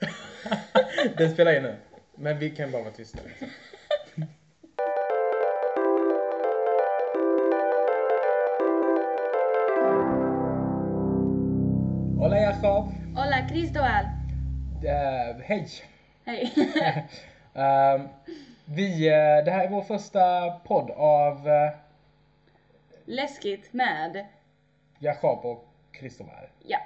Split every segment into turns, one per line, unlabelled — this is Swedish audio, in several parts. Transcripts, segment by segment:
Den spelar in nu. Men vi kan bara vara tysta. Hola Jakob!
Hola Cristóbal!
Eh, Hej!
Hej!
Ehm, vi, eh, det här är vår första podd av eh,
Läskigt med,
Jakob och Kristoffer.
ja,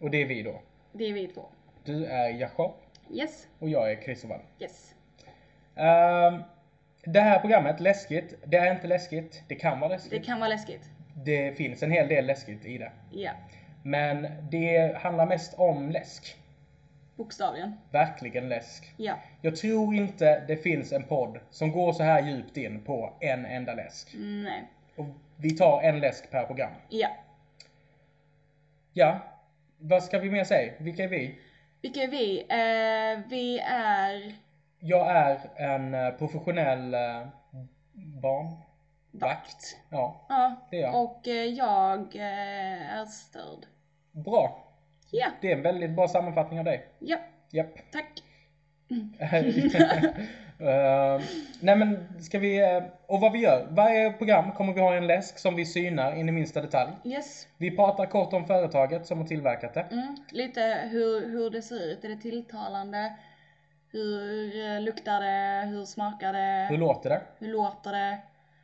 Och det är vi då.
det är vi två.
Du är Jakob
Yes,
och jag är Kristoffer.
yes.
Ehm, det här programmet, läskigt, det är inte läskigt. Det kan vara
Det
läskigt.
kan vara läskigt.
Det finns en hel del läskigt i det.
Ja,
Men det handlar mest om läsk.
bokstavligen.
Verkligen läsk.
Ja,
Jag tror inte det finns en podd som går så här djupt in på en enda läsk.
Mm, nej.
Och vi tar en läsk per program.
Ja.
Ja, vad ska vi mer säga? Vilka är vi?
Vilka är vi? Eh, vi är
Jag är en eh, professionell eh, barnvakt.
vakt.
Ja,
Ja,
det är jag.
och eh, jag eh, är störd.
Bra!
Ja,
Det är en väldigt bra sammanfattning av dig.
ja,
Japp.
tack.
Eh, nej men ska vi, eh, och vad vi gör, varje program kommer vi ha en läsk som vi synar in i minsta detalj.
Yes.
Vi pratar kort om företaget som har tillverkat det.
Mm. Lite hur, hur det ser ut. Är det tilltalande? Hur eh, luktar det? Hur smakar det?
Hur låter det?
Hur låter det?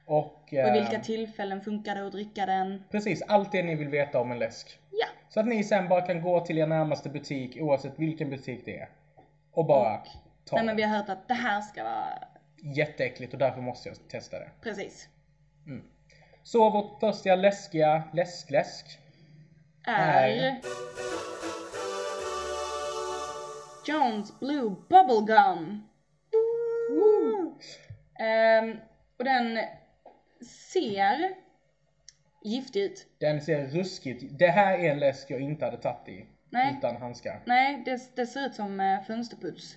Och
Och i
eh,
vilka tillfällen funkar det att dricka den?
precis allt det ni vill veta om en läsk.
Ja.
Så att ni sen bara kan gå till er närmaste butik oavsett vilken butik det är. Och bara
Och-
ta
Nej men vi
det.
har hört att det här ska vara
Jätteäckligt och därför måste jag testa det.
precis.
Så vårt första läskiga läsk-läsk. Nej.
Är... Jones Blue Bubblegum. Um, och den ser giftig ut.
Den ser ruskigt... Det här är en läsk jag inte hade tagit i.
Nej.
Utan handskar.
Nej, det, det ser ut som eh, fönsterputs.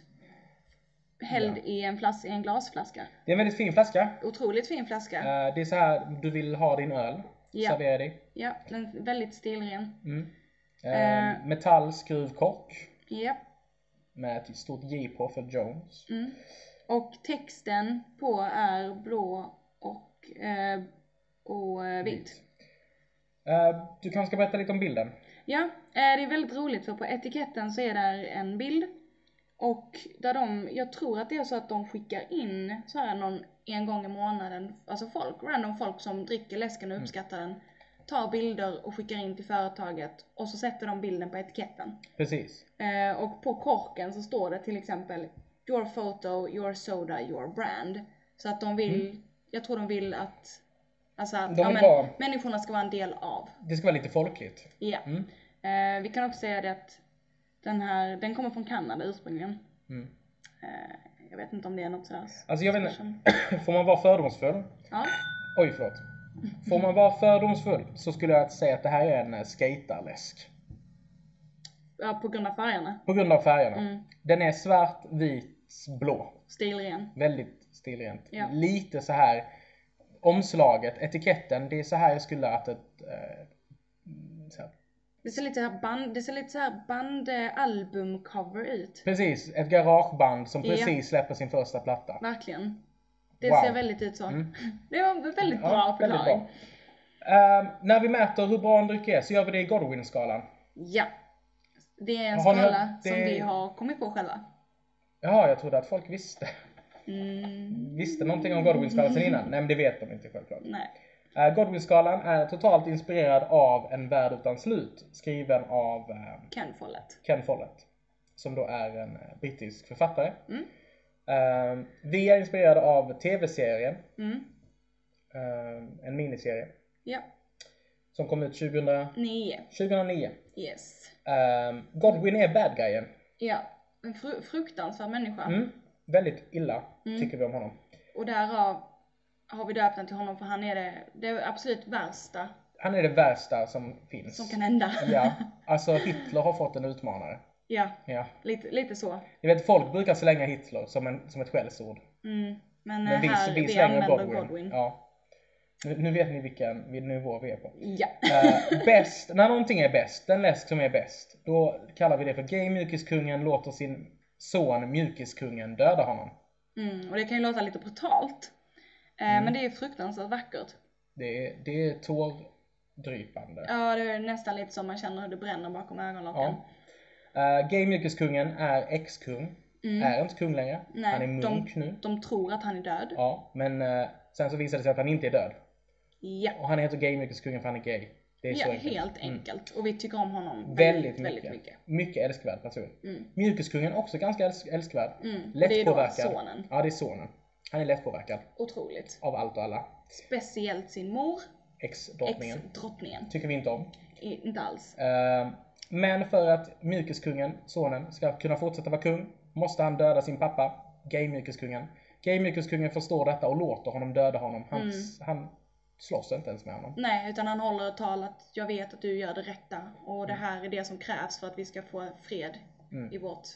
Hälld
Ja.
i, en flas- i en glasflaska.
Det är en väldigt fin flaska.
Otroligt fin flaska.
Eh, Det är så här du vill ha din öl
Ja.
serverad i.
Ja, den är väldigt stilren.
Mm.
Eh.
Eh, Metallskruvkork
Japp.
med ett stort J på för Jones.
Mm. Och texten på är blå och, eh, och eh, vit.
Eh, Du kanske ska berätta lite om bilden?
Ja, eh, det är väldigt roligt för på etiketten så är där en bild. Och där de, jag tror att det är så att de skickar in så här någon en gång i månaden, alltså folk, random folk som dricker läsken och uppskattar den, tar bilder och skickar in till företaget och så sätter de bilden på etiketten.
Precis.
Eh, och på korken så står det till exempel Your photo, your soda, your brand. Så att de vill, jag tror de vill att, alltså att
Mm. De
ja,
vill
men,
vara-
människorna ska vara en del av.
Det ska vara lite folkligt.
Ja.
Mm.
Eh, vi kan också säga det att den här, den kommer från Kanada ursprungligen.
Mm.
Eh, jag vet inte om det är något sådär.
Alltså jag vet inte,
special.
får man vara fördomsfull?
Ja,
Oj förlåt. Får man vara fördomsfull så skulle jag säga att det här är en eh, skaterläsk.
ja, på grund av färgerna.
På grund av färgerna.
Mm.
Den är svart, vit, blå.
Stilren.
Väldigt stilrent.
Ja.
Lite så här omslaget, etiketten, det är så här jag skulle att ett eh, så här,
Det ser lite så här band, det ser lite så här band eh, album cover ut.
Precis, ett garageband som
Ja.
precis släpper sin första platta.
Verkligen. Det
Wow.
ser väldigt ut så.
Mm.
Det var en väldigt
Ja,
bra
väldigt
förklaring.
bra. Ehm, när vi mäter hur bra en dryck är så gör vi det i Godwin-skalan.
Ja. Det är en
Har ni-
skala som
det-
vi har kommit på själva.
Jaha, jag trodde att folk visste,
Mm,
visste någonting om Godwin-skalan sen innan. Nej, men det vet de inte självklart.
nej.
Uh, Godwin-skalan är totalt inspirerad av En värld utan slut, skriven av ehm,
Ken Follett.
Ken Follett, som då är en eh, brittisk författare.
Mm.
Ehm, vi är inspirerade av TV-serien,
Mm.
ehm, en miniserie,
Ja.
som kom ut 2000,
Nio.
2009.
Yes.
Ehm, Godwin är bad guyen.
Ja. En fru- fruktansvärd människa.
Mm. Väldigt illa
Mm.
tycker vi om honom.
Och därav har vi döpt den till honom för han är det, det absolut värsta
Han är det värsta som finns.
som kan hända.
Ja, alltså Hitler har fått en utmanare.
Ja,
Ja.
lite, lite så.
Jag vet, folk brukar slänga Hitler som, en, som ett skällsord.
Mm. Men,
Men
eh,
vi,
här,
vi
vi,
slänger
använder
Godwin.
Godwin.
Ja. Nu, nu vet ni vilken nivå vi är på.
Ja.
Eh, bäst, när någonting är bäst, den läsk som är bäst, då kallar vi det för Gay Myrkeskungen låter sin son mjukiskungen dödar honom.
Mm, och det kan ju låta lite brutalt. Eh,
Mm.
Men det är fruktansvärt vackert.
Det är, det är tårdrypande.
Ja, det är nästan lite som man känner hur det bränner bakom ögonlocken.
Ja. Eh, gay mjukiskungen är ex-kung.
Mm.
Är inte kung längre.
Nej,
han är
de-
munk nu.
De tror att han är död.
Ja, men eh, sen så visar det sig att han inte är död.
Ja,
Och han heter gay mjukiskungen för han är gay. Det är
ja
så
helt enkelt. Och vi tycker om honom
Mm. Väldigt,
väldigt,
mycket.
väldigt
mycket.
mycket.
älskvärd person.
Mm.
Mjukiskungen också ganska älsk älskvärd.
Mm. Det är då
Lättpåverkad.
sonen.
Ja, det är sonen. Han är lättpåverkad
Otroligt.
av allt och alla.
Speciellt sin mor,
Ex-drottningen.
ex-drottningen.
Tycker vi inte om.
I- Inte alls.
Eh, men för att mjukiskungen, sonen, ska kunna fortsätta vara kung måste han döda sin pappa, gay-mjukiskungen. Gay-mjukiskungen förstår detta och låter honom döda honom. Han,
Mm.
han slåss inte ens med honom.
Nej, utan han håller ett tal att jag vet att du gör det rätta och det här är det som krävs för att vi ska få fred
Mm.
i vårt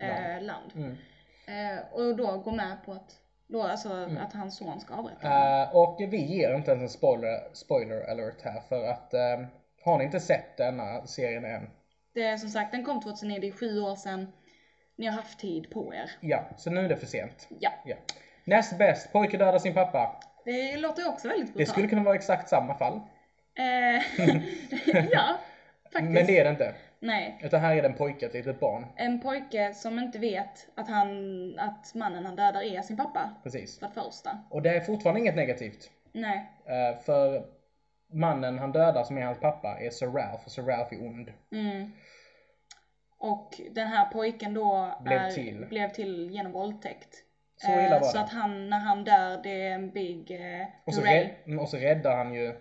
Land.
eh, land.
Mm. Mm.
Eh, och då går med på att, då, alltså, att hans son ska avrätta honom.
Eh, och vi ger inte ens en spoiler, spoiler alert här för att eh, har ni inte sett denna serien än,
Det är som sagt, den kom 2009, det är sju år sedan. Ni har haft tid på er.
ja, så nu är det för sent.
Ja,
Ja. Näst bäst, pojke dödar sin pappa.
det låter ju också väldigt
Det
brutalt.
skulle kunna vara exakt samma fall,
Eh, ja, faktiskt.
men det är det inte.
Nej.
Utan här är det en pojke, ett litet barn.
En pojke som inte vet att, han, att mannen han dödar är sin pappa.
Precis.
För det första.
Och det är fortfarande inget negativt.
Nej.
Eh, för mannen han dödar som är hans pappa är Sir Ralph och Sir Ralph är ond.
Mm. Och den här pojken då
Blev
är,
till.
blev till genom våldtäkt.
Så illa var
Eh, så
det.
att han, när han dör, det är en big eh,
Och så,
hooray.
rädd, mm, och så räddar han ju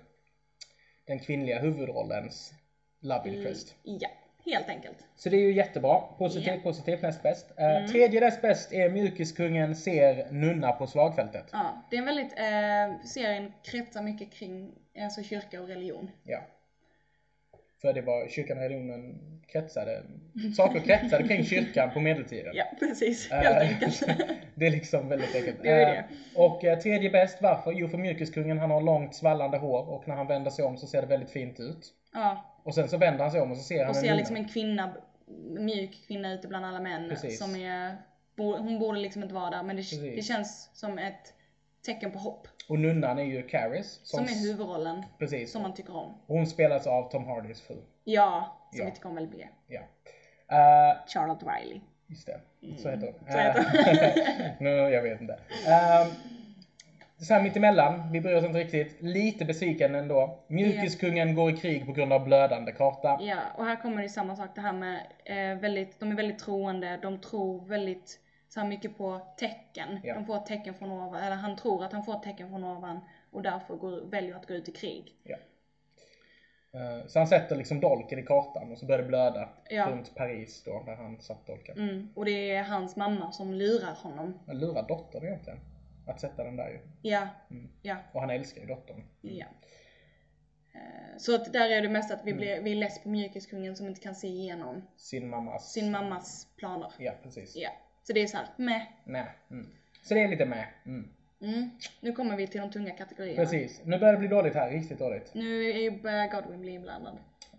den kvinnliga huvudrollens love
Mm,
interest.
Ja, helt enkelt.
Så det är ju jättebra. Positivt,
Ja. Mm.
positivt, näst bäst. Eh, Tredje näst bäst är Mjukiskungen ser nunna på slagfältet.
Ja, det är en väldigt, eh, serien kretsar mycket kring alltså, kyrka och religion.
Ja. För det var kyrkan och religionen kretsade, saker kretsade kring kyrkan på medeltiden.
Ja, precis.
Eh,
Helt enkelt.
det är liksom väldigt enkelt.
Det är ju det.
Eh, Och eh, tredje bäst, varför? Jo för mjukeskungen han har långt svallande hår och när han vänder sig om så ser det väldigt fint ut.
ja,
Och sen så vänder han sig om och så ser han
och ser
nunna.
liksom en kvinna, mjuk kvinna ute bland alla män.
Precis.
Som är, bo- hon borde liksom inte vara där men det,
Precis.
det känns som ett tecken på hopp.
Och nunnan är ju Caris.
Som är huvudrollen
Precis.
som man tycker om.
Hon spelas av Tom Hardys fru.
Ja, som
Ja.
vi tycker om väldigt mycket.
Ja. Eh,
Charlotte Riley.
just det. Så heter hon.
Mm. Så heter
Eh, nu, jag vet inte. Uh, så här mittemellan, vi bryr oss inte riktigt. Lite besviken ändå. Mjukiskungen går i krig på grund av blödande karta.
Ja, och här kommer det samma sak det här med eh, väldigt, de är väldigt troende, de tror väldigt så här mycket på tecken.
Ja.
De får tecken från ovan, eller han tror att han får tecken från ovan och därför går, väljer att gå ut i krig.
Eh, Så han sätter liksom dolken i kartan och så börjar det blöda
Ja.
runt Paris då där han satt dolken.
Mm. Och det är hans mamma som lurar honom.
Han lurar dottern egentligen. Att sätta den där ju.
Ja,
Mm.
ja,
Och han älskar ju dottern.
Mm.
Mm.
ja. Eh, Så att där är det mest att vi, blir, vi är less på mjukiskungen som inte kan se igenom
Sin mammas...
sin mammas planer.
Ja precis.
Ja. Så det är såhär, meh.
Nej. Mm. Så det är lite med. Mm.
Mm. Nu kommer vi till de tunga kategorierna.
Precis. Nu börjar det bli dåligt här. Riktigt dåligt.
Nu är ju börjar Godwin bli inblandad.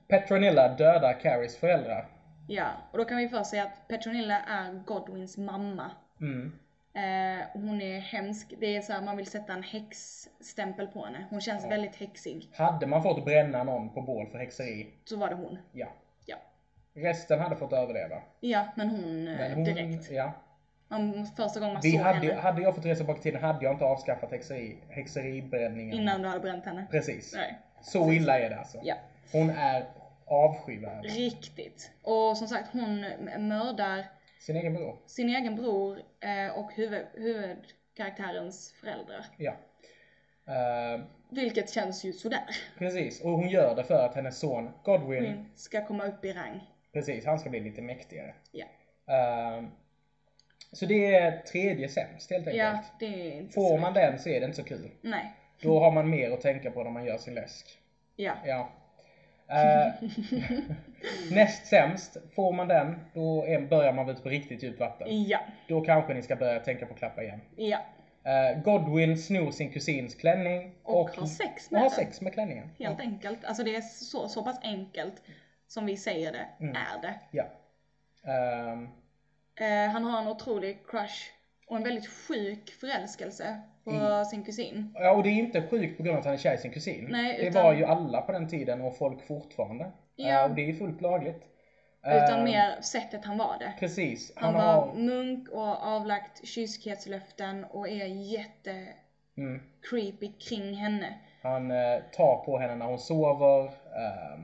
Petronilla dödar Carries föräldrar.
Ja, och då kan vi först säga att Petronilla är Godwins mamma.
Mm.
Eh, och hon är hemsk. Det är så här, man vill sätta en häxstämpel på henne. Hon känns
Ja.
väldigt häxig.
Hade man fått bränna någon på bål för häxeri?
Så var det hon.
Ja.
Ja.
Resten hade fått överleva.
Ja, men hon, eh,
Men hon-
direkt.
Ja.
Man, första gången man
Vi
såg
hade,
henne.
hade jag fått resa bak i tiden hade jag inte avskaffat häxeri, häxeribränningen.
Innan du hade bränt henne.
Precis.
Nej.
Så illa är det alltså.
Ja.
Hon är avskyvärd.
Riktigt. Och som sagt, hon mördar
Sin egen bror.
sin egen bror eh, och huvud, huvudkaraktärens föräldrar.
Ja. Eh,
Vilket känns ju sådär.
precis. Och hon gör det för att hennes son Godwin,
Queen ska komma upp i rang.
precis, han ska bli lite mäktigare.
Ja,
Eh, så det är tredje sämst helt enkelt.
ja det är inte så
Får man den så är det inte så kul.
mycket. Nej.
Då har man mer att tänka på när man gör sin läsk.
Ja.
Ja. Eh, näst sämst, får man den, då är, börjar man vara ute på riktigt djupt vatten.
Ja.
Då kanske ni ska börja tänka på att klappa igen.
Ja.
Eh, Godwin snor sin kusins klänning
Och, har sex med
och har
den.
sex med klänningen.
Helt enkelt. Alltså det är så,
Mm.
så pass enkelt som vi säger det är det.
Ja. Ehm,
Eh, han har en otrolig crush och en väldigt sjuk förälskelse på
Mm.
sin kusin.
Ja, och det är inte sjukt på grund av att han är kär i sin kusin.
Nej,
Det
utan-
var ju alla på den tiden och folk fortfarande.
Ja.
Eh, Och det är ju fullt lagligt.
Utan
Eh,
mer sättet han var det.
Precis.
Han
Han,
var
har...
munk och avlagt kyskhetslöften och är jätte
Mm,
creepy kring henne.
han eh, tar på henne när hon sover. eh,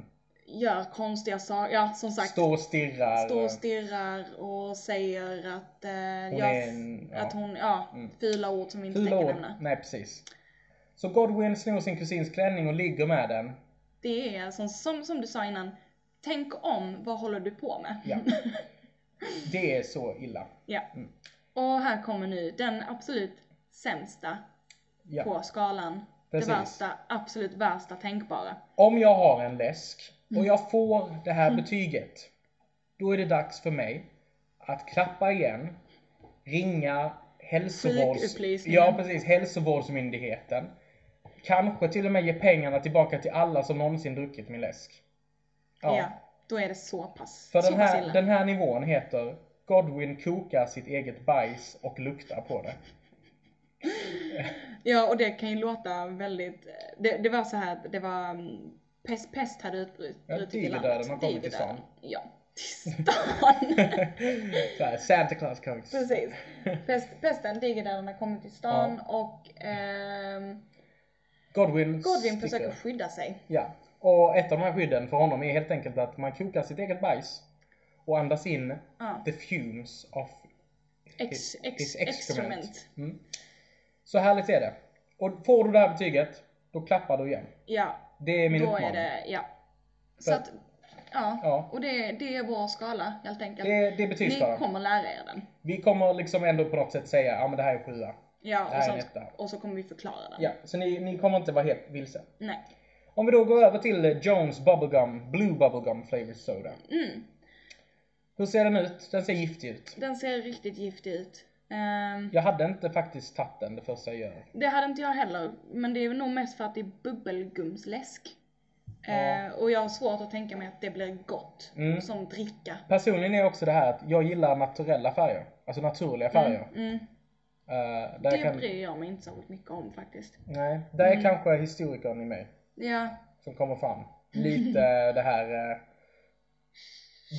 Gör konstiga saker, ja som sagt.
står eh. och stirrar.
Står och stirrar och säger att, eh,
Hon
jag,
är en- ja.
att hon, ja,
Mm.
fula ord som vi inte
Fula
tänker
ord.
nämna.
Nej, precis. Så Godwin snor sin kusins klänning och ligger med den.
Det är som, som, som du sa innan, tänk om, vad håller du på med?
Ja. Det är så illa.
Ja.
Mm.
Och här kommer nu den absolut sämsta
Ja.
på skalan.
Precis.
Det värsta, absolut värsta tänkbara.
Om jag har en läsk
Mm.
och jag får det här betyget, då är det dags för mig att klappa igen, ringa hälsovårds...
Sjukupplysningen.
Ja, precis, hälsovårdsmyndigheten. Kanske till och med ge pengarna tillbaka till alla som någonsin druckit min läsk.
Ja. då är det så pass,
För
så
den
pass
här,
illa.
den här nivån heter Godwin kokar sitt eget bajs och luktar på det.
Ja, och det kan ju låta väldigt... Det, det var så här, det var... mm, Pest, pest hade utbrutit
Ja,
brutit i
digerdöden
landet.
har kommit till
Digerdöden.
stan.
Ja, till stan.
Så här, Santa Claus comes.
Precis. Pest, pesten, digerdöden har kommit till stan och ehm,
Godwin,
Godwin
sticker.
försöker skydda sig.
Ja, och ett av de här skydden för honom är helt enkelt att man kokar sitt eget bajs och andas in
Ja.
the fumes of
Ex, Ah. ex,
his
excrement.
excrement. Mm. Så härligt är det. Och får du det här betyget, då klappar du igen.
Ja,
Det är min
då är
uppmaning.
det... Ja. Så
För-
att, ja.
Ja.
Och det, det är vår skala helt enkelt.
Det, det är
Ni
betygsskalan.
kommer lära er den.
Vi kommer liksom ändå på något sätt säga, ja men det här är sjua. Det
Ja,
här
och,
är
sen,
en etta.
och så kommer vi förklara den.
Ja, så ni, ni kommer inte vara helt vilse.
Nej.
Om vi då går över till Jones Bubblegum, Blue Bubblegum Flavored Soda.
Mm.
Hur ser den ut? Den ser giftig ut.
Den ser riktigt giftig ut. Ehm,
Jag hade inte faktiskt tagit den det första jag gör.
Det hade inte jag heller, men det är nog mest för att det är bubbelgumsläsk.
Ja.
Ehm, och jag har svårt att tänka mig att det blir gott
Mm.
som dricka.
Personligen är också det här att jag gillar naturella färger. Alltså naturliga färger.
Mm. Typ
Eh, där
Det
jag kan,
bryr jag mig inte så mycket om faktiskt.
nej, där
Mm.
är kanske historikern i mig
Ja,
som kommer fram. Lite det här... eh,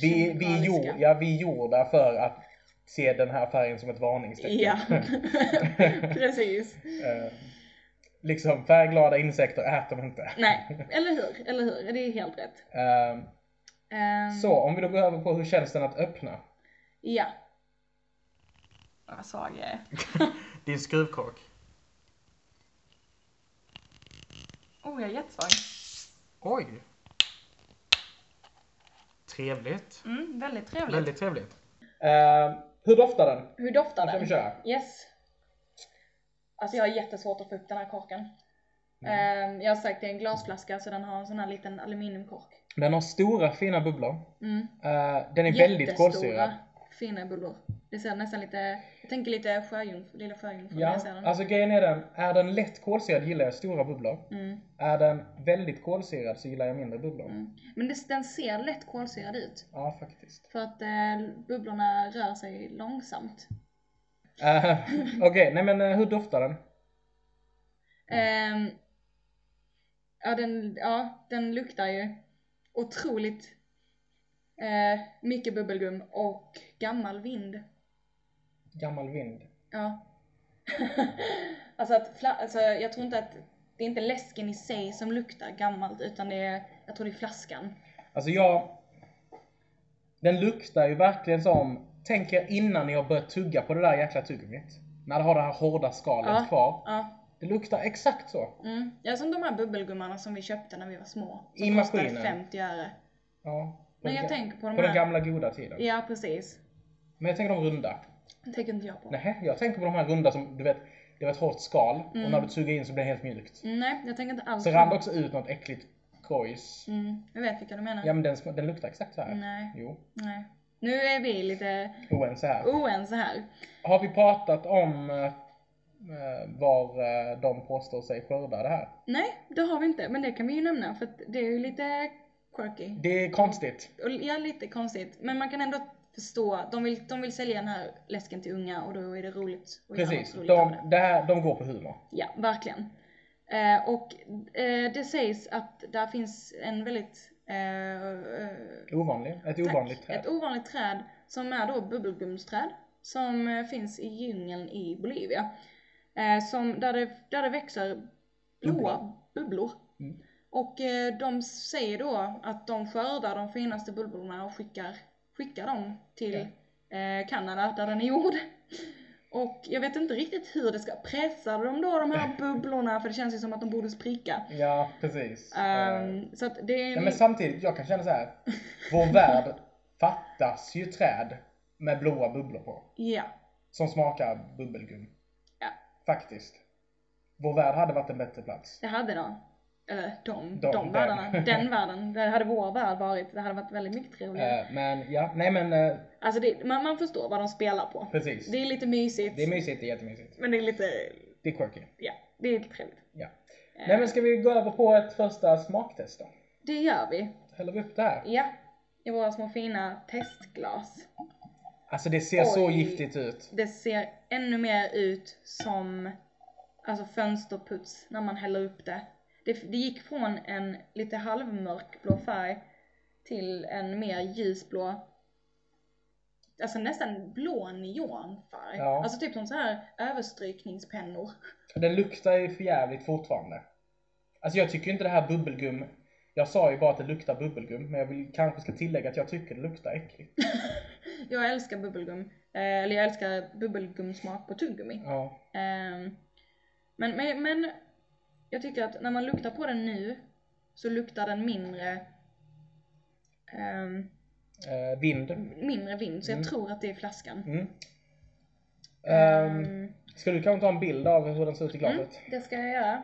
vi, vi, är
Kemikaliska.
gjor- ja, vi är gjorda för att se den här färgen som ett varningstecken.
ja. precis.
Eh, liksom färgglada insekter äter man inte.
Nej, eller hur? Eller hur? Det är helt rätt.
Eh,
Ehm,
så, om vi då går över på hur känns den att öppna?
Ja. Vad svag jag är.
Din skruvkork.
Oh, jag är jättesvag.
Oj! Trevligt.
Mm, väldigt trevligt.
trevligt. Eh, hur doftar den?
Hur doftar
Då kan vi
den?
köra.
Yes. Alltså jag har jättesvårt att få upp den här korken.
Mm.
Ehm, jag har sagt det är en glasflaska så den har en sån här liten aluminiumkork.
Den har stora fina bubblor.
Mm.
Eh, den är väldigt kolsyrad.
Jättestora fina bullar. Det ser nästan lite, jag tänker lite sjöjungfru, lilla sjöjungfru när
Ja,
jag ser den.
alltså grejen är den, är den lätt kolsyrad gillar jag stora bubblor.
Mm,
Är den väldigt kolsyrad så gillar jag mindre bubblor.
mm. Men det, den ser lätt kolsyrad ut.
Ja, faktiskt.
För att eh, bubblorna rör sig långsamt.
Eh, Okej, nej men eh, hur doftar den? Mm.
Ehm, ja, den, ja, den luktar ju otroligt eh, mycket bubbelgum och gammal vind.
Gammal vind.
Ja. alltså att, fla- alltså jag tror inte att det är inte läsken i sig som luktar gammalt utan det är, jag tror det är flaskan.
Alltså jag... Den luktar ju verkligen som, tänk er innan ni har börjat tugga på det där jäkla tuggummit. När det har det här hårda skalet
Ja.
kvar.
Ja.
Det luktar exakt så.
Mm. ja, som de här bubbelgummarna som vi köpte när vi var små. Som
I
kostade
maskinen.
50 öre.
Ja.
Nej,
Den
jag
ga-
tänker på de
På den
här.
gamla goda tiden.
Ja, precis.
Men jag tänker de runda.
Det tänker inte jag på. Nej.
Nej, jag tänker på de här runda som, du vet, det var ett hårt skal
Mm.
och när du suger in så blir det helt mjukt.
jag tänker inte alls
Så
på
rann
dem.
det också ut något äckligt kojs.
Mm, jag vet vilka du menar.
Ja men den, sm- den luktar exakt så här.
Nej.
Jo,
Nej. Nu är vi lite
oense här.
oense här.
Har vi pratat om eh, eh, var eh, de påstår sig skörda det här?
Nej, det har vi inte, men det kan vi ju nämna för att det är ju lite quirky.
Det är konstigt.
Och ja, lite konstigt. Men man kan ändå förstå. De vill, de vill sälja den här läsken till unga och då är det roligt att göra
Precis,
något roligt av
de,
det.
det här, de går på humor.
Ja, verkligen. Eh, och eh, det sägs att där finns en väldigt eh, eh,
Ovanlig, ett
Tack.
ovanligt träd.
Ett ovanligt träd som är då bubbelgumsträd som eh, finns i djungeln i Bolivia. Eh, som, där, det, där det växer blåa bubblor.
Mm.
Och eh, de säger då att de skördar de finaste bubblorna och skickar, skickar dem till eh, Kanada där den är gjord. Och jag vet inte riktigt hur det ska, pressa de då de här bubblorna för det känns ju som att de borde spricka.
Ja, precis.
Ehm,
Eh,
så att det är
ja, men samtidigt, jag kan känna så här. Vår värld fattas ju träd med blåa bubblor på.
ja,
Som smakar bubbelgum.
Ja.
Faktiskt. Vår värld hade varit en bättre plats.
Det hade de. Eller de,
De,
de,
den.
världarna. Den världen. Det hade vår värld varit. Det hade varit väldigt mycket trevligare.
Eh, Men ja, nej men eh,
Alltså det, man, man förstår vad de spelar på.
precis.
Det är lite mysigt.
Det är mysigt, det är jättemysigt.
men det är lite,
Det är quirky.
ja, det är lite trevligt.
Ja.
Eh,
Nej men ska vi gå över på ett första smaktest då?
Det gör vi.
Häller vi upp det här?
Ja. I våra små fina testglas.
Alltså det ser så
Oj.
giftigt ut.
Det ser ännu mer ut som alltså fönsterputs när man häller upp det. Det, det gick från en lite halvmörkblå färg till en mer ljusblå, alltså nästan blå neonfärg.
Ja.
Alltså typ som så här överstrykningspennor.
Den luktar ju för jävligt fortfarande. Alltså jag tycker ju inte det här bubbelgum. Jag sa ju bara att det luktar bubbelgum, men jag vill kanske ska tillägga att jag tycker det luktar äckligt.
Jag älskar bubbelgum, eh, eller jag älskar bubbelgumsmak på tuggummi.
Ja.
Ehm, men, men, men jag tycker att när man luktar på den nu så luktar den mindre ehm,
Eh, vind.
mindre vind så jag
Mm.
tror att det är flaskan.
Mm. Um,
Ehm,
ska du kanske ta en bild av hur den ser ut i
mm,
glaset?
det ska jag göra.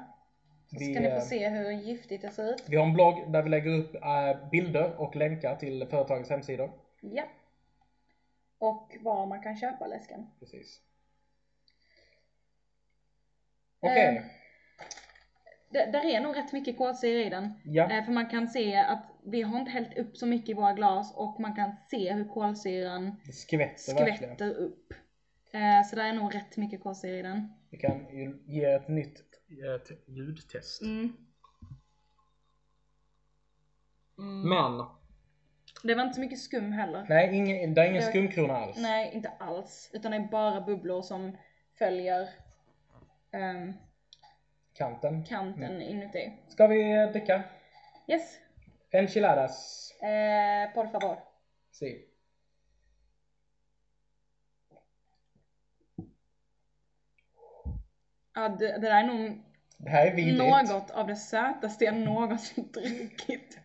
Så
Vi,
ska ni
eh,
få se hur giftigt det ser ut.
Vi har en blogg där vi lägger upp eh, bilder och länkar till företagets hemsidor.
Ja. Och var man kan köpa läsken.
Precis. Okej,
Eh, Det, där är nog rätt mycket kolsyra i den.
ja.
Eh, För man kan se att vi har inte hällt upp så mycket i våra glas och man kan se hur kolsyran
Det skvätter, verkligen.
skvätter upp. Eh, Så där är nog rätt mycket kolsyra i den.
Vi kan ju ge ett nytt eh, t- ljudtest. Men,
Det var inte så mycket skum heller.
Mm. nej, ingen, det är ingen
Det-
skumkrona alls.
Nej, inte alls. Utan det är bara bubblor som följer ehm,
Kanten.
kanten inuti.
Ska vi eh, dricka?
Yes,
Enchiladas.
eh, por favor.
Sí.
Ja, det, det där är nog
Det här är vidrigt.
något av det sötaste jag någonsin druckit.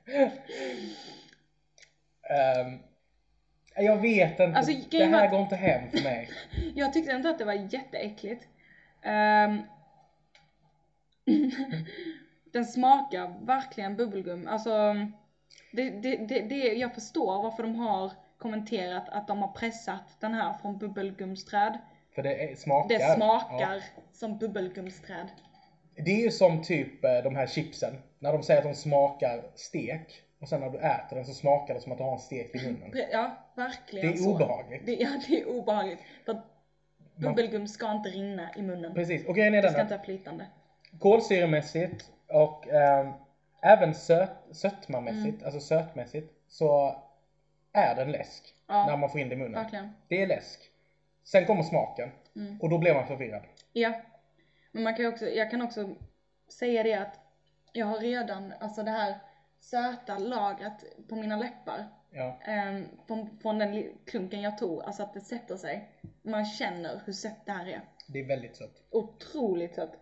Ehm, jag vet inte.
Alltså,
det
grejen var
här
att-
går inte hem för mig.
Jag tyckte inte att det var jätteäckligt. Ehm, den smakar verkligen bubbelgum. Alltså, det, det, det, det, jag förstår varför de har kommenterat att de har pressat den här från bubbelgumsträd.
För det är, smakar.
Det
Ja.
smakar som bubbelgumsträd.
Det är ju som typ eh, de här chipsen. När de säger att de smakar stek. Och sen när du äter den så smakar det som att du har en stek i munnen.
Pre- Ja,
Det
verkligen
är
så.
obehagligt.
Det, ja, det är obehagligt. För att bubbelgum ska inte rinna i munnen.
Precis. Och grejen är
Det ska
den
inte
att
vara flytande.
kolsyremässigt och ehm, även söt, sötmamässigt,
Mm.
alltså sötmässigt, så är den läsk.
Ja.
När man får in det i munnen.
Verkligen.
Det är läsk. Sen kommer smaken.
Mm.
Och då blir man förvirrad.
Ja. Men man kan ju också, jag kan också säga det att jag har redan, alltså det här söta lagret på mina läppar
Ja.
ehm, från, från den li- klunken jag tog, alltså att det sätter sig. Man känner hur sött det här är.
Det är väldigt sött.
Otroligt sött.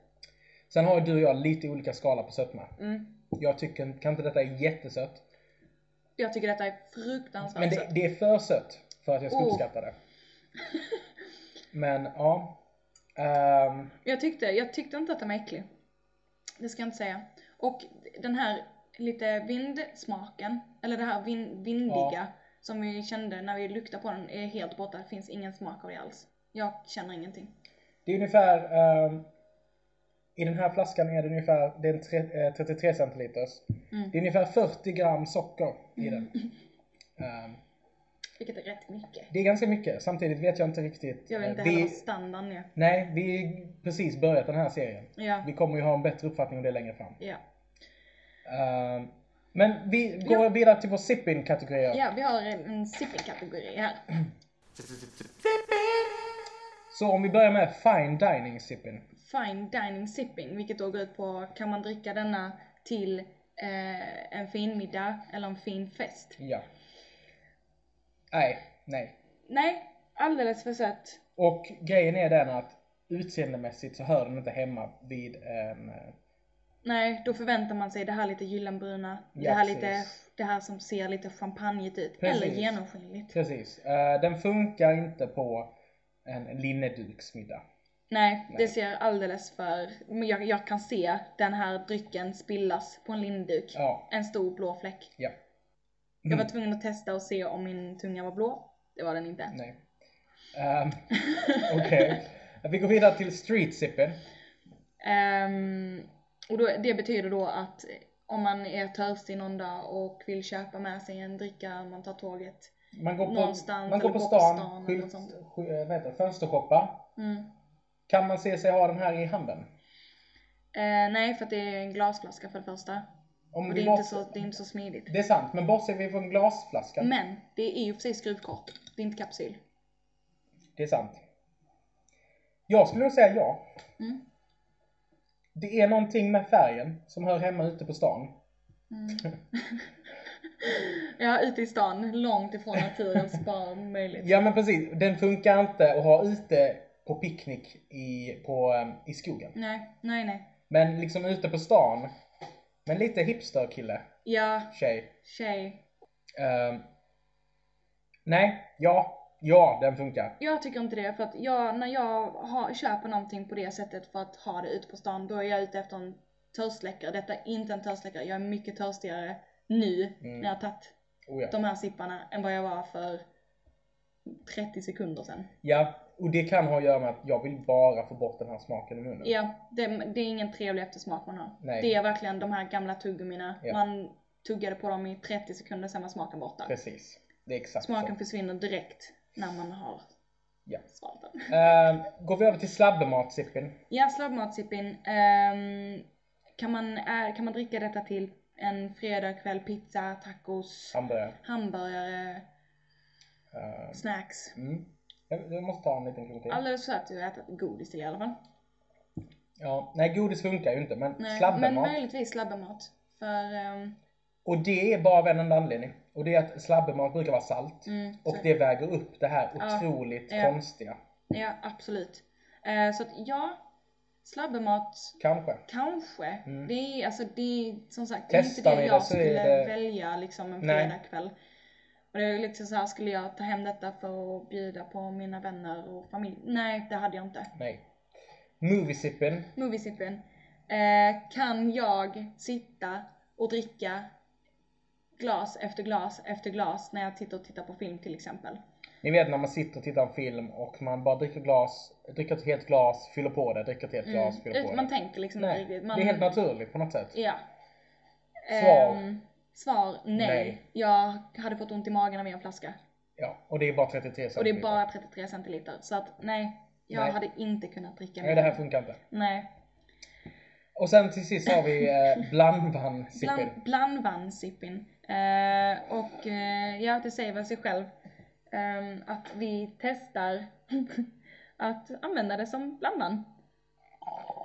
Sen har ju du och jag lite olika skala på sötma.
Mm.
Jag tycker kan inte detta är jättesött.
Jag tycker detta är fruktansvärt
Men det,
sött.
det är för sött för att jag ska
Oh.
uppskatta det. Men ja. Ehm,
Jag tyckte, jag tyckte inte att den var äcklig. Det ska jag inte säga. Och den här lite vindsmaken, eller det här vin, vindiga
Ja.
som vi kände när vi luktade på den är helt borta. Det finns ingen smak av det alls. Jag känner ingenting.
det är ungefär ehm, i den här flaskan är det ungefär det är en tre, eh, 33 centiliters.
Mm.
Det är ungefär 40 gram socker i den. Ehm,
Vilket är rätt mycket.
Det är ganska mycket. Samtidigt vet jag inte riktigt.
Jag vet inte
eh,
heller
vi,
vad standarden är.
Nej, vi har precis börjat den här serien.
Ja.
Vi kommer ju ha en bättre uppfattning om det längre fram.
Ja.
Eh, men vi går
Ja.
vidare till vår sipping kategori
ja, vi har en en sipping-kategori här.
Så om vi börjar med fine dining sipping.
Fine dining sipping, vilket då går ut på kan man dricka denna till eh, en fin middag eller en fin fest?
Ja. Nej, nej.
Nej, alldeles för sött.
Och grejen är den att utseendemässigt så hör den inte hemma vid en... eh,
Nej, då förväntar man sig det här lite gyllenbruna,
Ja,
det, här
precis.
lite, det här som ser lite champagneigt ut,
Precis.
eller genomskinligt.
Precis. Eh, den funkar inte på en linneduksmiddag.
Nej,
Nej.
det ser alldeles för... men Jag, jag kan se den här drycken spillas på en linduk.
Ja, Mm.
En stor blå fläck.
ja.
Jag var tvungen att testa och se om min tunga var blå. Det var den inte.
Nej. Ehm, Okej. Vi går vidare till street sipping.
Ehm, och då, det betyder då att om man är törstig någon dag och vill köpa med sig en dricka, man tar tåget.
Man går på,
Någonstans
man går
eller
på
går på
stan,
stan eller
skylt,
något sånt.
sky- eh, vad heter det, fönstershoppa.
Mm.
Kan man se sig ha den här i handen?
Eh, nej, för att det är en glasflaska för det första.
Om
Och
vi
det är, inte
bort-
så, det är inte så smidigt.
det är sant, men bortser vi från glasflaskan.
Men det är ju för sig skruvkort. Det är inte kapsyl.
Det är sant. Jag skulle nog säga ja.
Mm.
Det är någonting med färgen som hör hemma ute på stan.
Mm. ja, ute i stan, långt ifrån naturen så bara om möjligt.
Ja men precis, den funkar inte att ha ute på picknick i, på, em, i skogen.
Nej, nej, nej.
Men liksom ute på stan. Men lite hipster kille,
Ja,
tjej.
tjej.
Ehm, nej, ja, ja den funkar.
Jag tycker inte det, för att jag, när jag har, köper någonting på det sättet för att ha det ute på stan, då är jag ute efter en törstsläckare. Detta är inte en törstsläckare. Jag är mycket törstigare nu
Mm.
när jag har tagit
Oh, ja.
de här sipparna än vad jag var för 30 sekunder sedan.
ja, och det kan ha att göra med att jag vill bara få bort den här smaken i munnen.
Ja, det, det är ingen trevlig eftersmak man har.
Nej.
Det är verkligen de här gamla tuggummina.
Ja.
Man tuggade på dem i 30 sekunder, sen var smaken borta.
Precis, det är exakt
Smaken
så.
försvinner direkt när man har
Ja.
svalt den.
Ehm, går vi över till slabbemat-sippen?
Ja, slabbmatsippin. Ehm, kan, man, ä- kan man dricka detta till en fredagkväll, pizza, tacos,
Hamburgare.
hamburgare,
Ehm,
snacks?
Mm. Jag, jag måste ta en liten klunk till.
Alldeles för att du har ätit godis i alla fall.
Ja, nej, godis funkar ju inte, men
Nej, men
slabbemat.
möjligtvis slabbemat. För, ehm,
Och det är bara av en enda anledning. Och det är att slabbemat brukar vara salt.
mm,
Och
så-
det väger upp det här
Ja,
otroligt
ja.
konstiga.
Ja, absolut. Eh, så att ja, slabbemat
Kanske.
kanske.
Mm.
Det är alltså det är som sagt det är inte
Testar
det
ni
jag
det så är
skulle
det-
välja liksom en
Nej.
fredagkväll. Och det är liksom så här skulle jag ta hem detta för att bjuda på mina vänner och familj. Nej, det hade jag inte.
Nej. Moviesippen.
Moviesippen. Eh, kan jag sitta och dricka glas efter glas efter glas när jag sitter och tittar på film till exempel?
Ni vet när man sitter och tittar på en film och man bara dricker glas, dricker ett helt glas, fyller på det, dricker ett helt
Mm.
glas, fyller på
Ut- Man
det.
tänker liksom inte
Nej,
riktigt. Man,
det är helt naturligt på något sätt.
Ja.
Svar?
Ehm, svar nej.
Nej.
Jag hade fått ont i magen av en flaska.
Ja, och det är bara 33
Och det är
centiliter.
bara 33 centiliter. Så att nej, jag
Nej.
hade inte kunnat dricka
Nej,
mer.
det här funkar inte.
Nej.
Och sen till sist har vi eh, blandvann-sippen.
Bland, blandvann sippin. Eh, och eh, ja, det säger väl sig själv ehm, att vi testar att använda det som blandvann.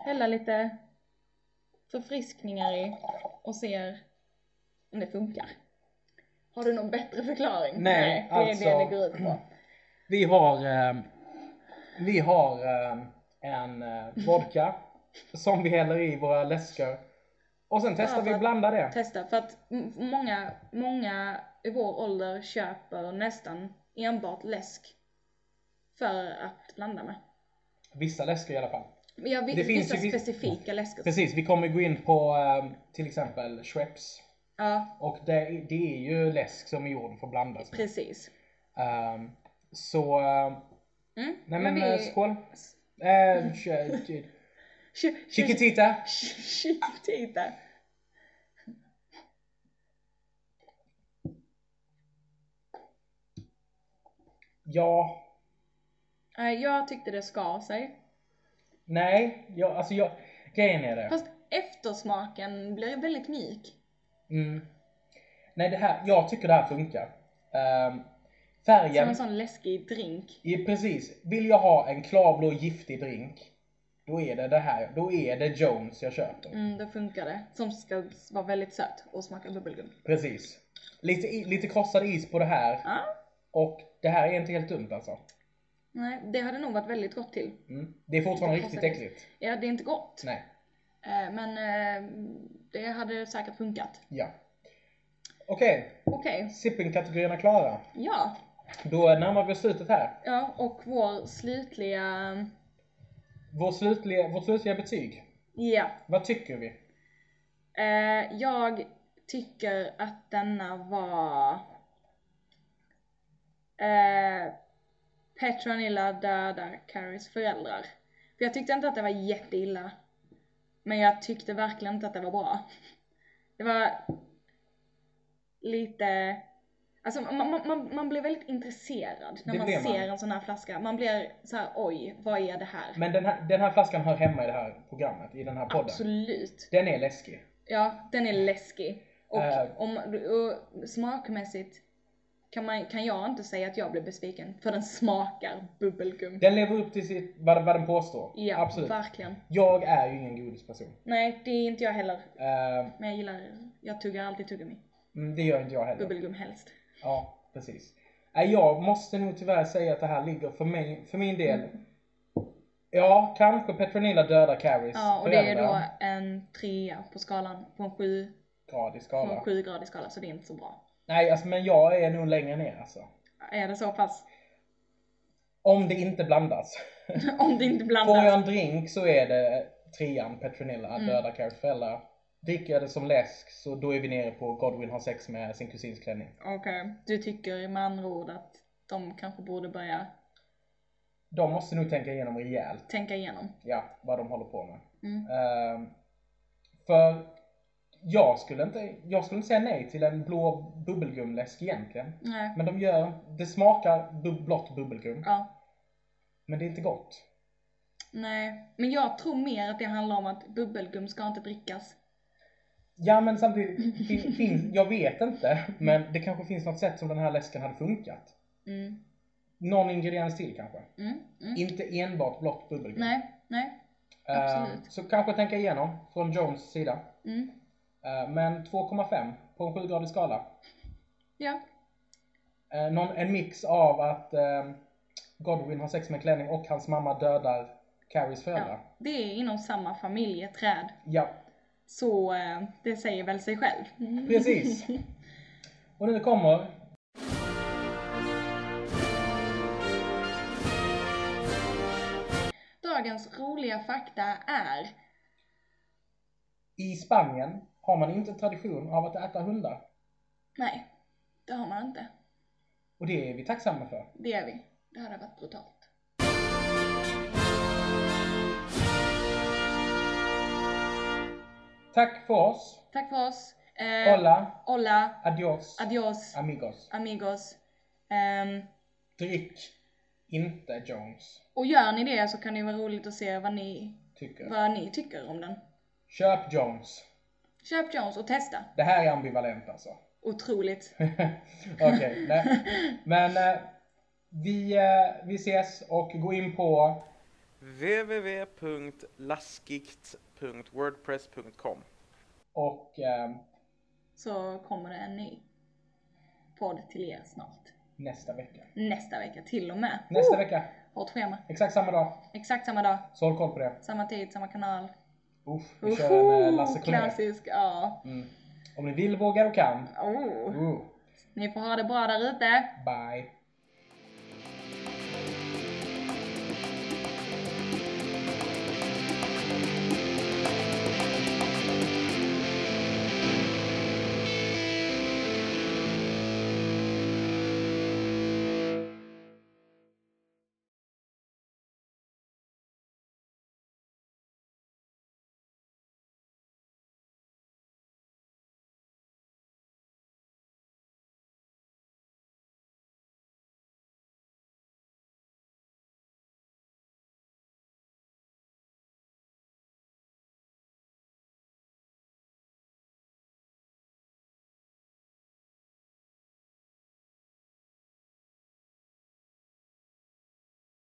Hälla lite förfriskningar i och ser om det funkar. Har du någon bättre förklaring?
Nej,
det
alltså-
är det det går ut på.
Vi har, eh, vi har eh, en eh, vodka som vi häller i våra läskor. Och sen testar
Ja,
vi
för-
att blanda det.
testa. För att m- många, många i vår ålder köper nästan enbart läsk för att blanda med.
Vissa läskor i alla fall.
Men Jag,
Det
det
finns
vissa
ju vi-
specifika läskor.
Precis, vi kommer gå in på eh, till exempel Schweppes.
Ja,
Och det, det är ju läsk som är gjord för att blandas med.
precis.
Ehm, så, eh,
Mm.
nej men, eh, skål.
S-
Eh, ch- ch-
Ch- ch-
Chiquitita.
Chiquitita.
Ja,
Nej, jag tyckte det skar sig.
nej, jag, alltså jag, grejen är det.
Fast eftersmaken blir väldigt mjuk.
Mm. Nej, det här, jag tycker det här funkar. Ehm,
Som
färgen,
en sån läskig drink.
i, precis. Vill jag ha en klarblå giftig drink, då är det det här, då är det Jones jag köper.
Mm, då funkar det. Som ska vara väldigt söt och smaka bubbelgum.
Precis. Lite, i- lite krossad is på det här
Ja,
och det här är inte helt dumt alltså.
nej, det hade nog varit väldigt gott till.
Mm. Det är fortfarande
Lite
riktigt
krossad is.
äckligt.
Ja, det är inte gott.
Nej,
Eh, Men eh, det hade säkert funkat.
ja. Okej,
Okej,
sipping-kategorierna klara.
ja.
Då närmar vi oss slutet här.
Ja, och vår slutliga...
Vår slutliga, vårt slutliga betyg.
Ja.
Vad tycker vi?
Eh, jag tycker att denna var... Eh, Petronilla dödar Carries föräldrar. För jag tyckte inte att det var jätteilla. Men jag tyckte verkligen inte att det var bra. Det var lite... Alltså man, man, man, man blir väldigt intresserad när
Det
man
blir
ser
man.
en sån här flaska. Man blir så här: oj, vad är det här?
Men den här, den här flaskan hör hemma i det här programmet, i den här podden.
Absolut.
Den är läskig.
Ja, den är läskig. Och,
Eh.
om, och smakmässigt kan, man, kan jag inte säga att jag blev besviken, för den smakar bubbelgum.
Den lever upp till sitt, vad, vad den påstår.
ja,
Absolut.
verkligen.
Jag är ju ingen godisperson.
Nej, det är inte jag heller.
Eh,
Men jag gillar, jag tuggar alltid tuggummi.
mm, det gör inte jag heller.
Bubbelgum helst.
Ja, precis. Nej, jag måste nog tyvärr säga att det här ligger för, mig, för min del.
Mm.
Ja, kanske Petronilla dödar Carries
Ja, och det är då en trea på skalan, på en sju,
grad i
på en
skala.
sjugradig skala, så det är inte så bra.
Nej, alltså, men jag är nog längre ner alltså.
Är det så pass?
Om det inte blandas.
Om det inte
Får jag
blandas. Mm.
en drink så är det trean Petronilla dödar Carries föräldrar. Dricker jag det som läsk så då är vi nere på Godwin har sex med sin kusins klänning.
Okej, du tycker med andra ord att de kanske borde börja
De måste nog tänka igenom rejält
tänka igenom.
ja, vad de håller på med.
Mm.
Ehm, för jag skulle, inte, jag skulle inte säga nej till en blå bubbelgumläsk egentligen.
Nej.
Men de gör, det smakar bu- blått bubbelgum,
Ja.
men det är inte gott.
Nej, men jag tror mer att det handlar om att bubbelgum ska inte drickas.
Ja men samtidigt, fin, fin, jag vet inte, men det kanske finns något sätt som den här läsken hade funkat.
Mm,
Någon ingrediens till kanske.
mm, mm.
Inte enbart blått bubbelgum.
Nej, nej.
Ehm,
absolut.
så kanske tänka igenom från Jones sida.
Mm.
Ehm, men 2,5 på en 7-gradig skala.
Ja,
Eh, någon, en mix av att eh, Godwin har sex med klänning och hans mamma dödar Carries föräldrar.
ja. Det är inom samma familjeträd.
Ja,
Så eh, det säger väl sig själv.
precis. och nu kommer
Dagens roliga fakta är...
i Spanien har man inte tradition av att äta hundar.
Nej, det har man inte.
Och det är vi tacksamma för.
Det är vi. Det hade varit brutalt.
Tack för oss.
Tack för oss. Eh,
Hola,
Hola.
adios,
Adios.
amigos.
Amigos. Ehm,
Drick inte Jones,
och gör ni det så kan det ju vara roligt att se vad ni,
tycker
vad ni tycker om den.
Köp Jones.
Köp Jones och testa.
Det här är ambivalent alltså.
Otroligt.
Okej, nej. Men eh, vi, eh, vi ses och gå in på
www.laskigt.wordpress.com
och eh,
Så kommer det en ny podd till er snart.
nästa vecka.
Nästa vecka till och med.
Nästa
Oh!
vecka,
Hårt schema.
exakt samma dag.
Exakt samma dag,
Så håll koll på det.
samma tid, samma kanal.
Uff, vi kör en eh, Lasse
Oho,
Kronér.
klassisk. Ja.
Mm. Om ni vill, vågar och kan.
Oh.
Uh,
Ni får ha det bra där ute.
bye.